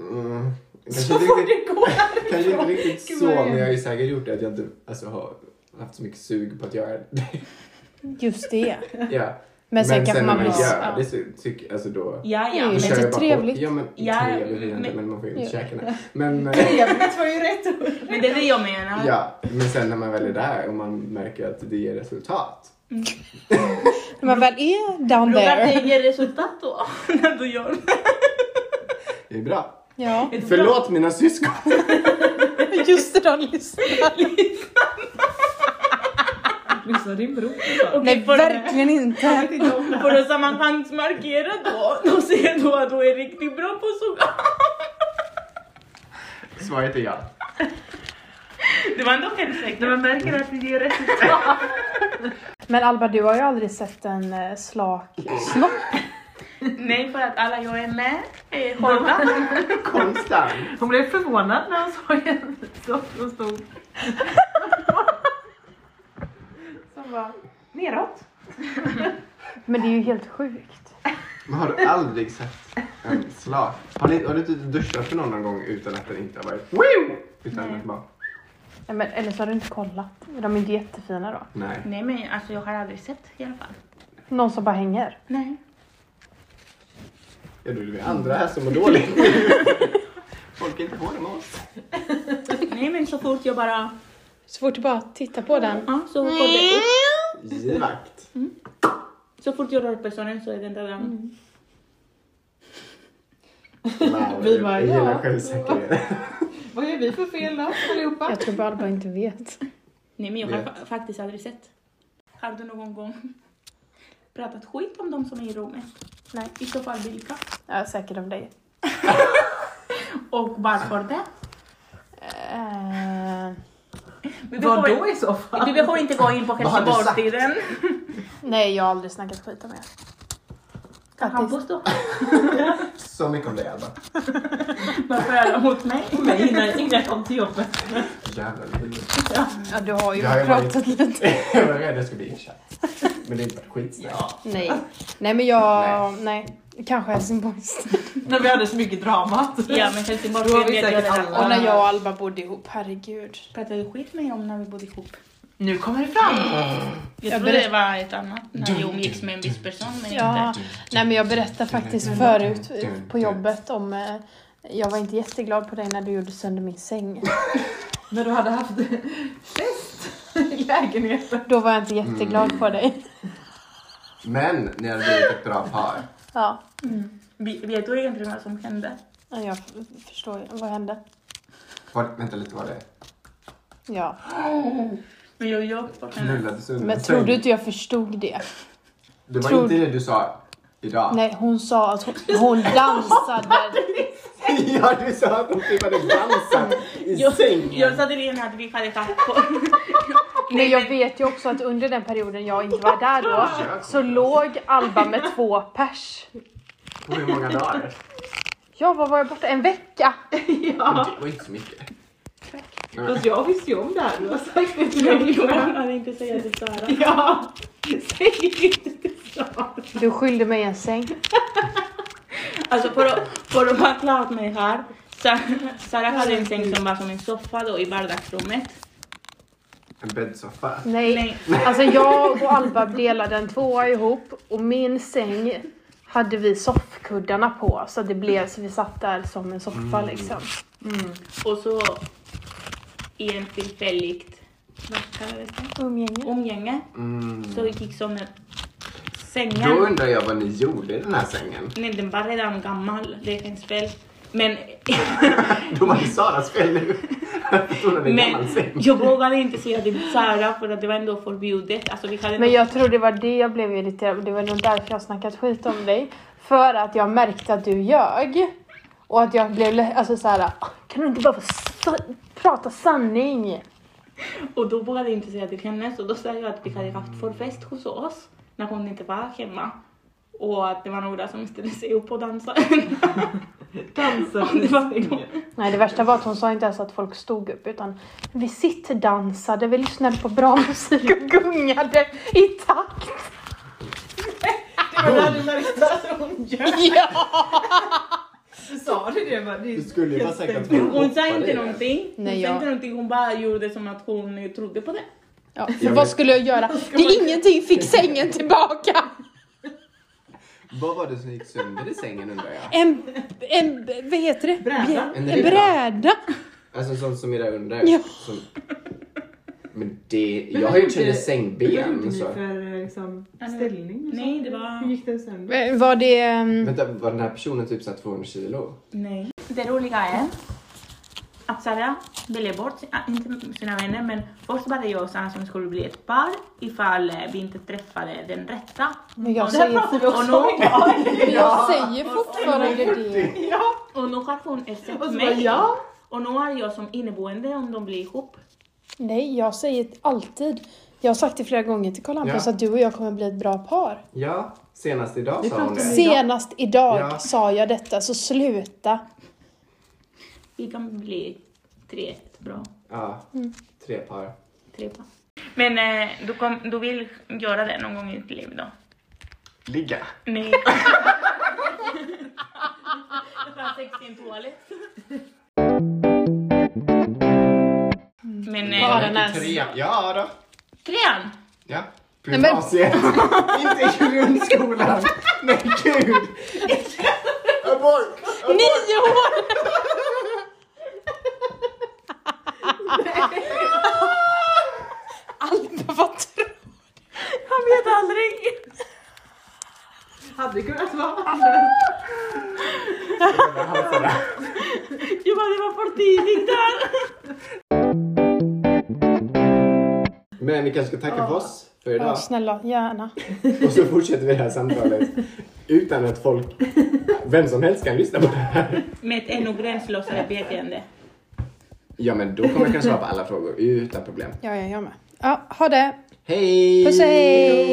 Speaker 2: Mm. Kanske, inte riktigt, kanske inte riktigt så, men jag har ju säkert gjort det att jag inte alltså, har haft så mycket sug på att göra det.
Speaker 1: Just det.
Speaker 2: ja.
Speaker 1: Men sen kanske
Speaker 2: sen
Speaker 1: man
Speaker 2: när
Speaker 1: blir...
Speaker 2: man gör
Speaker 1: Ja.
Speaker 2: det så tycker alltså då...
Speaker 4: Ja, ja.
Speaker 1: Det är ju
Speaker 2: då
Speaker 1: lite
Speaker 2: kör
Speaker 4: men-
Speaker 2: jag bara på.
Speaker 1: trevligt.
Speaker 2: Ja, men
Speaker 4: Ja,
Speaker 2: trevligt är det inte,
Speaker 4: men-
Speaker 2: men man får ju inte
Speaker 1: Ja.
Speaker 2: käkarna. Men, eh,
Speaker 6: Trevligt var ju rätt ord.
Speaker 4: Men det är det jag menar.
Speaker 2: ja, men sen när man väl är där och man märker att det ger resultat.
Speaker 1: När man väl är down
Speaker 4: Frågan är,
Speaker 1: there.
Speaker 4: ger resultat då? När du gör det.
Speaker 2: Det är bra.
Speaker 1: Ja,
Speaker 2: Förlåt mina syskon.
Speaker 1: just det. De lyssnar.
Speaker 6: Lyssna din bror sa
Speaker 4: Okej,
Speaker 1: Nej,
Speaker 4: för-
Speaker 1: verkligen inte.
Speaker 4: För att sammanhangsmarkera då, då ser du att du är riktigt bra på att suga.
Speaker 2: Svaret är ja.
Speaker 4: Det var ändå självsäkert.
Speaker 6: När man märker att det ger rätt
Speaker 1: Men Alba, du har ju aldrig sett en eh, slak snopp.
Speaker 4: Nej, för att alla jag är med eh, är hårda.
Speaker 2: Konstant.
Speaker 6: Hon blev förvånad när hon såg en doft som stod som var neråt.
Speaker 1: Men det är ju helt sjukt.
Speaker 2: Men har du aldrig sett en slak? Har, ni, har du inte duschat för någon, någon gång utan att den inte har varit wow? Utan att bara,
Speaker 1: Nej, men, eller så har du inte kollat. De är ju jättefina då.
Speaker 2: nej.
Speaker 4: Nej, men alltså jag har aldrig sett i alla fall.
Speaker 1: Någon som bara hänger.
Speaker 4: Nej.
Speaker 2: Ja, då är det vi andra här som mår dåligt. Folk är inte hårda med oss.
Speaker 4: Nej, men så fort jag bara...
Speaker 1: Så fort du bara tittar på den.
Speaker 4: Ja, så går det upp.
Speaker 2: Givakt.
Speaker 4: Så fort jag rör personen så är den redan...
Speaker 6: Mm.
Speaker 2: Wow,
Speaker 6: Vi bara,
Speaker 2: jag gillar
Speaker 6: ja.
Speaker 2: självsäkerhet.
Speaker 6: Vad gör vi för fel då allihopa?
Speaker 1: Jag tror bara Alba inte vet.
Speaker 4: Nej, men jag har
Speaker 2: Vet.
Speaker 4: fa- faktiskt aldrig sett. Har du någon gång pratat skit om de som är i rummet?
Speaker 1: Nej.
Speaker 4: I så fall vilka?
Speaker 1: Ja, säkert om dig.
Speaker 4: Och varför det?
Speaker 1: Eh,
Speaker 4: Vi
Speaker 6: Vad
Speaker 4: behöver,
Speaker 6: då i så fall?
Speaker 4: vi behöver inte gå in på
Speaker 2: Vad har du sagt?
Speaker 4: Helsingborgstiden.
Speaker 1: nej, jag har aldrig snackat skit om er.
Speaker 4: Kan han påstå?
Speaker 2: Så mycket om dig Alba.
Speaker 4: Varför är han mot mig?
Speaker 6: mig innan, innan jag kom till jobbet.
Speaker 2: Jävlar. det blir-
Speaker 1: Ja, du har ju
Speaker 2: Jag har ju
Speaker 1: pratat
Speaker 2: varit-
Speaker 1: lite.
Speaker 2: Jag var rädd jag skulle bli insatt. Men det är inte skitsnack.
Speaker 1: Nej. Nej, men jag... Nej. Kanske Helsingborgs.
Speaker 6: När vi hade så mycket drama.
Speaker 4: Ja,
Speaker 6: Då
Speaker 4: men
Speaker 6: har
Speaker 4: Helsingborgstiden
Speaker 6: vi
Speaker 4: vet jag
Speaker 6: säkert
Speaker 4: redan.
Speaker 6: alla.
Speaker 1: Och när jag och Alba bodde ihop, herregud.
Speaker 4: Pratade du skit med mig om när vi bodde ihop?
Speaker 6: Nu kommer det fram!
Speaker 4: Jag,
Speaker 1: Jag
Speaker 4: trodde
Speaker 1: berätt-
Speaker 4: det var ett annat, när vi umgicks med en viss person men
Speaker 1: Ja,
Speaker 4: inte.
Speaker 1: nej men jag berättade faktiskt förut på jobbet om eh, jag var inte jätteglad på dig när du gjorde sönder min säng.
Speaker 6: När du hade haft fest i lägenheten.
Speaker 1: Då var jag inte jätteglad på dig.
Speaker 2: Men ni hade blivit ett bra par.
Speaker 1: Ja,
Speaker 4: Mm. Vi- Vet du egentligen vad som hände?
Speaker 1: ja, jag f- förstår ju. Vad hände?
Speaker 2: Var, vänta lite, var det
Speaker 1: Ja,
Speaker 4: Vi jag jobb på henne.
Speaker 2: knullades under
Speaker 1: men
Speaker 2: en
Speaker 1: tror
Speaker 2: säng?
Speaker 1: du inte jag förstod det?
Speaker 2: Det var
Speaker 1: tror-
Speaker 2: inte det du sa idag.
Speaker 1: Nej, hon sa att hon, hon dansade.
Speaker 2: ja, du sa att de typ hade dansat i
Speaker 4: Jag
Speaker 2: sängen.
Speaker 4: sa till Lena att vi hade haft på.
Speaker 1: Men jag vet ju också att under den perioden jag inte var där då så låg Alba med två pers.
Speaker 2: På hur många dagar?
Speaker 1: Ja, vad var jag borta? En vecka?
Speaker 2: Men Det var inte så mycket.
Speaker 6: Fast jag visste ju om det här. Du har sagt det till mig.
Speaker 4: Jag hade inte säga till Sara.
Speaker 6: Ja! Säg inte till Sara.
Speaker 1: Du skyllde mig en säng.
Speaker 4: Alltså för att, för att vara klar med det här. Sa- Sara hade en säng som var som en soffa då i vardagsrummet.
Speaker 2: En bäddsoffa.
Speaker 1: Nej. Alltså jag och Alba delade en tvåa ihop och min säng hade vi soffkuddarna på så det blev så vi satt där som en soffa liksom.
Speaker 4: Och så i en tillfälligt, vad kallades det?
Speaker 1: Umgänge.
Speaker 4: Umgänge.
Speaker 2: Mm.
Speaker 4: Så vi gick som en sängen.
Speaker 2: Då undrar jag vad ni gjorde i den här sängen.
Speaker 4: Nej, den var redan gammal, det är hennes fel. Men,
Speaker 2: Då var det Saras fel nu. Hon hade en gammal
Speaker 4: men
Speaker 2: säng.
Speaker 4: jag vågade inte säga det till Sara för att det var ändå förbjudet. Alltså, vi hade
Speaker 1: Men jag tror det var det jag blev irriterad Det var nog därför jag snackat skit om dig. För att jag märkte att du ljög. Och att jag blev le- alltså så här. "Ah, Kan du inte bara få s- prata sanning.
Speaker 4: Och då vågade jag inte säga till henne så då sa jag att vi hade haft förfest hos oss när hon inte var hemma. Och att det var några som ställde sig upp och dansade.
Speaker 5: Dansen
Speaker 4: Ja, det var
Speaker 5: visste
Speaker 4: bra.
Speaker 5: ingen.
Speaker 1: Nej, det värsta var att hon sa inte ens att folk stod upp utan vi sittdansade, vi lyssnade på bra musik och gungade i takt.
Speaker 6: Det var det värsta som hon gör.
Speaker 1: Ja!
Speaker 6: Du sa det det? Bara, det
Speaker 2: Du skulle ju bara sagt att
Speaker 4: Hon sa
Speaker 2: hoppade
Speaker 4: inte
Speaker 2: i.
Speaker 4: någonting. Hon
Speaker 1: Nej,
Speaker 4: sa
Speaker 1: jag-
Speaker 4: inte någonting. Hon bara gjorde som att hon trodde på det.
Speaker 1: ja för vad skulle jag göra? Det är ingenting fick sängen tillbaka.
Speaker 2: Vad var det som gick sönder i sängen undrar jag?
Speaker 1: En, en vad heter det?
Speaker 6: Bräda.
Speaker 2: En
Speaker 1: En
Speaker 2: ribba.
Speaker 1: bräda.
Speaker 2: Alltså sånt som är där under.
Speaker 1: Ja.
Speaker 2: Som... Men det...
Speaker 5: Men
Speaker 2: jag
Speaker 5: vad
Speaker 2: har ju
Speaker 5: gjorde-
Speaker 2: ett
Speaker 5: Vad gjorde
Speaker 2: sängben.
Speaker 5: ni
Speaker 2: Så.
Speaker 5: för eh, liksom, ställning? och
Speaker 4: Nej,
Speaker 5: så?
Speaker 4: det var-
Speaker 5: Hur gick det sen?
Speaker 1: Eh, Var det... ehm,
Speaker 2: Vänta, var den här personen typ såhär 200 kilo?
Speaker 4: Nej. Det roliga är att Sara ville bort, sina- inte sina vänner, men först var det jag och Sara som skulle bli ett par ifall eh, vi inte träffade den rätta.
Speaker 1: Men jag
Speaker 4: Och-
Speaker 1: säger,
Speaker 4: och nu,
Speaker 1: jag säger fortfarande det.
Speaker 4: och nu har hon ersatt
Speaker 5: så bara,
Speaker 4: mig.
Speaker 5: ja.
Speaker 4: Och nu är jag som inneboende om de blir ihop.
Speaker 1: Nej, jag säger alltid. Jag har sagt det flera gånger till Karl Hampus
Speaker 2: Ja.
Speaker 1: att du och jag kommer bli ett bra par.
Speaker 2: Ja, senast idag
Speaker 5: Vi
Speaker 2: sa hon
Speaker 5: pratar-
Speaker 2: det.
Speaker 1: Senast idag
Speaker 2: Ja.
Speaker 1: sa jag detta, så sluta.
Speaker 4: Vi kan bli tre bra
Speaker 2: Ja, tre par.
Speaker 4: tre par. Men eh, du, kom, du vill göra det någon gång i ditt liv då?
Speaker 2: Ligga.
Speaker 4: Nej. Ta sex i en toalett. Men
Speaker 1: Ja,
Speaker 4: eh,
Speaker 1: den är-
Speaker 2: Tre. Ja då.
Speaker 4: trean!
Speaker 2: Ja.
Speaker 1: men-
Speaker 2: Gymnasiet. inte i grundskolan. Men gud. Abort.
Speaker 1: Nio år! Alba, vad tror
Speaker 4: Han vet aldrig!
Speaker 5: Hade kunnat vara.
Speaker 4: Jag bara, det var för tidigt där!
Speaker 2: Men vi kanske ska tacka för oss för
Speaker 1: du? Ja,
Speaker 2: idag.
Speaker 1: snälla, gärna.
Speaker 2: Och så fortsätter vi det här samtalet utan att folk, vem som helst kan lyssna på det här.
Speaker 4: Med ett ännu gränslösare beteende.
Speaker 2: Ja men då kommer jag kunna svara på alla frågor utan problem.
Speaker 1: Ja, ja, jag med. Ja, ha det.
Speaker 2: Hej!
Speaker 1: Puss och hej!